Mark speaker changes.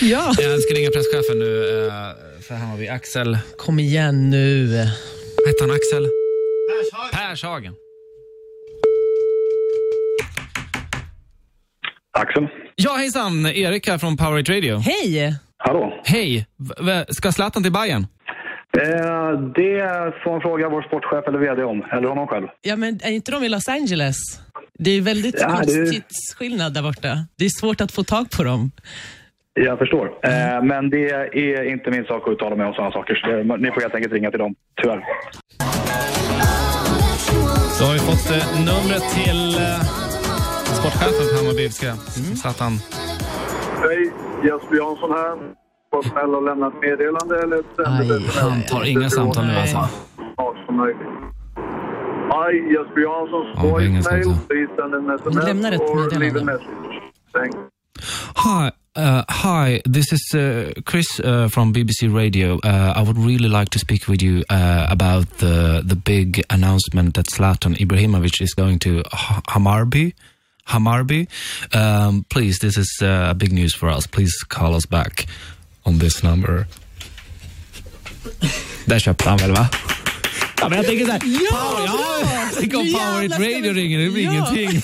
Speaker 1: Ja.
Speaker 2: Jag ska ringa presschefen nu eh, för Hammarby. Axel,
Speaker 1: Kom igen nu.
Speaker 2: vad heter han? Axel? Pershagen.
Speaker 3: Axel?
Speaker 2: Ja, hejsan. Erik här från Power Hit Radio.
Speaker 1: Hej!
Speaker 3: Hallå?
Speaker 2: Hej! V- v- Ska Zlatan till Bayern?
Speaker 3: Eh, det får man fråga vår sportchef eller VD om, eller honom själv.
Speaker 1: Ja, men är inte de i Los Angeles? Det är ju väldigt
Speaker 3: Ja,
Speaker 1: kort
Speaker 3: det är-
Speaker 1: tidsskillnad där borta. Det är svårt att få tag på dem.
Speaker 3: Jag förstår. Eh, men det är inte min sak att uttala mig om sådana saker. Så det, ni får helt enkelt ringa till dem, tyvärr.
Speaker 2: Då har vi fått eh, numret till eh, sportchefen för Hammarby. Vi Ska, Mm. Zlatan.
Speaker 4: Hej, Jesper Jansson här. Var snäll och lämna ett meddelande eller ett
Speaker 1: Aj,
Speaker 2: Han tar inga samtal nu alltså.
Speaker 4: Hej, Jesper Jansson.
Speaker 2: Ja, det är ingen
Speaker 4: Voicemail.
Speaker 2: samtal.
Speaker 4: Please send an SMS
Speaker 1: lämnar ett
Speaker 4: or leave a
Speaker 1: meddelande.
Speaker 4: message. Thanks.
Speaker 2: Hi, uh, hi. This is uh, Chris uh, from BBC Radio. Uh, I would really like to speak with you uh, about the the big announcement that Zlatan Ibrahimovic is going to Ha- Hamarby. Hamarby, um, please. This is uh, big news for us. Please call us back on this number. Där köpte han väl va? Ja, men jag tänker så här,
Speaker 1: Ja,
Speaker 2: Power- ja,
Speaker 1: bra!
Speaker 2: jag tänker om
Speaker 1: Nu
Speaker 2: Power Hit
Speaker 1: jävlar ska
Speaker 2: Radio
Speaker 1: vi-
Speaker 2: ringer, det blir
Speaker 1: Ja.
Speaker 2: ingenting.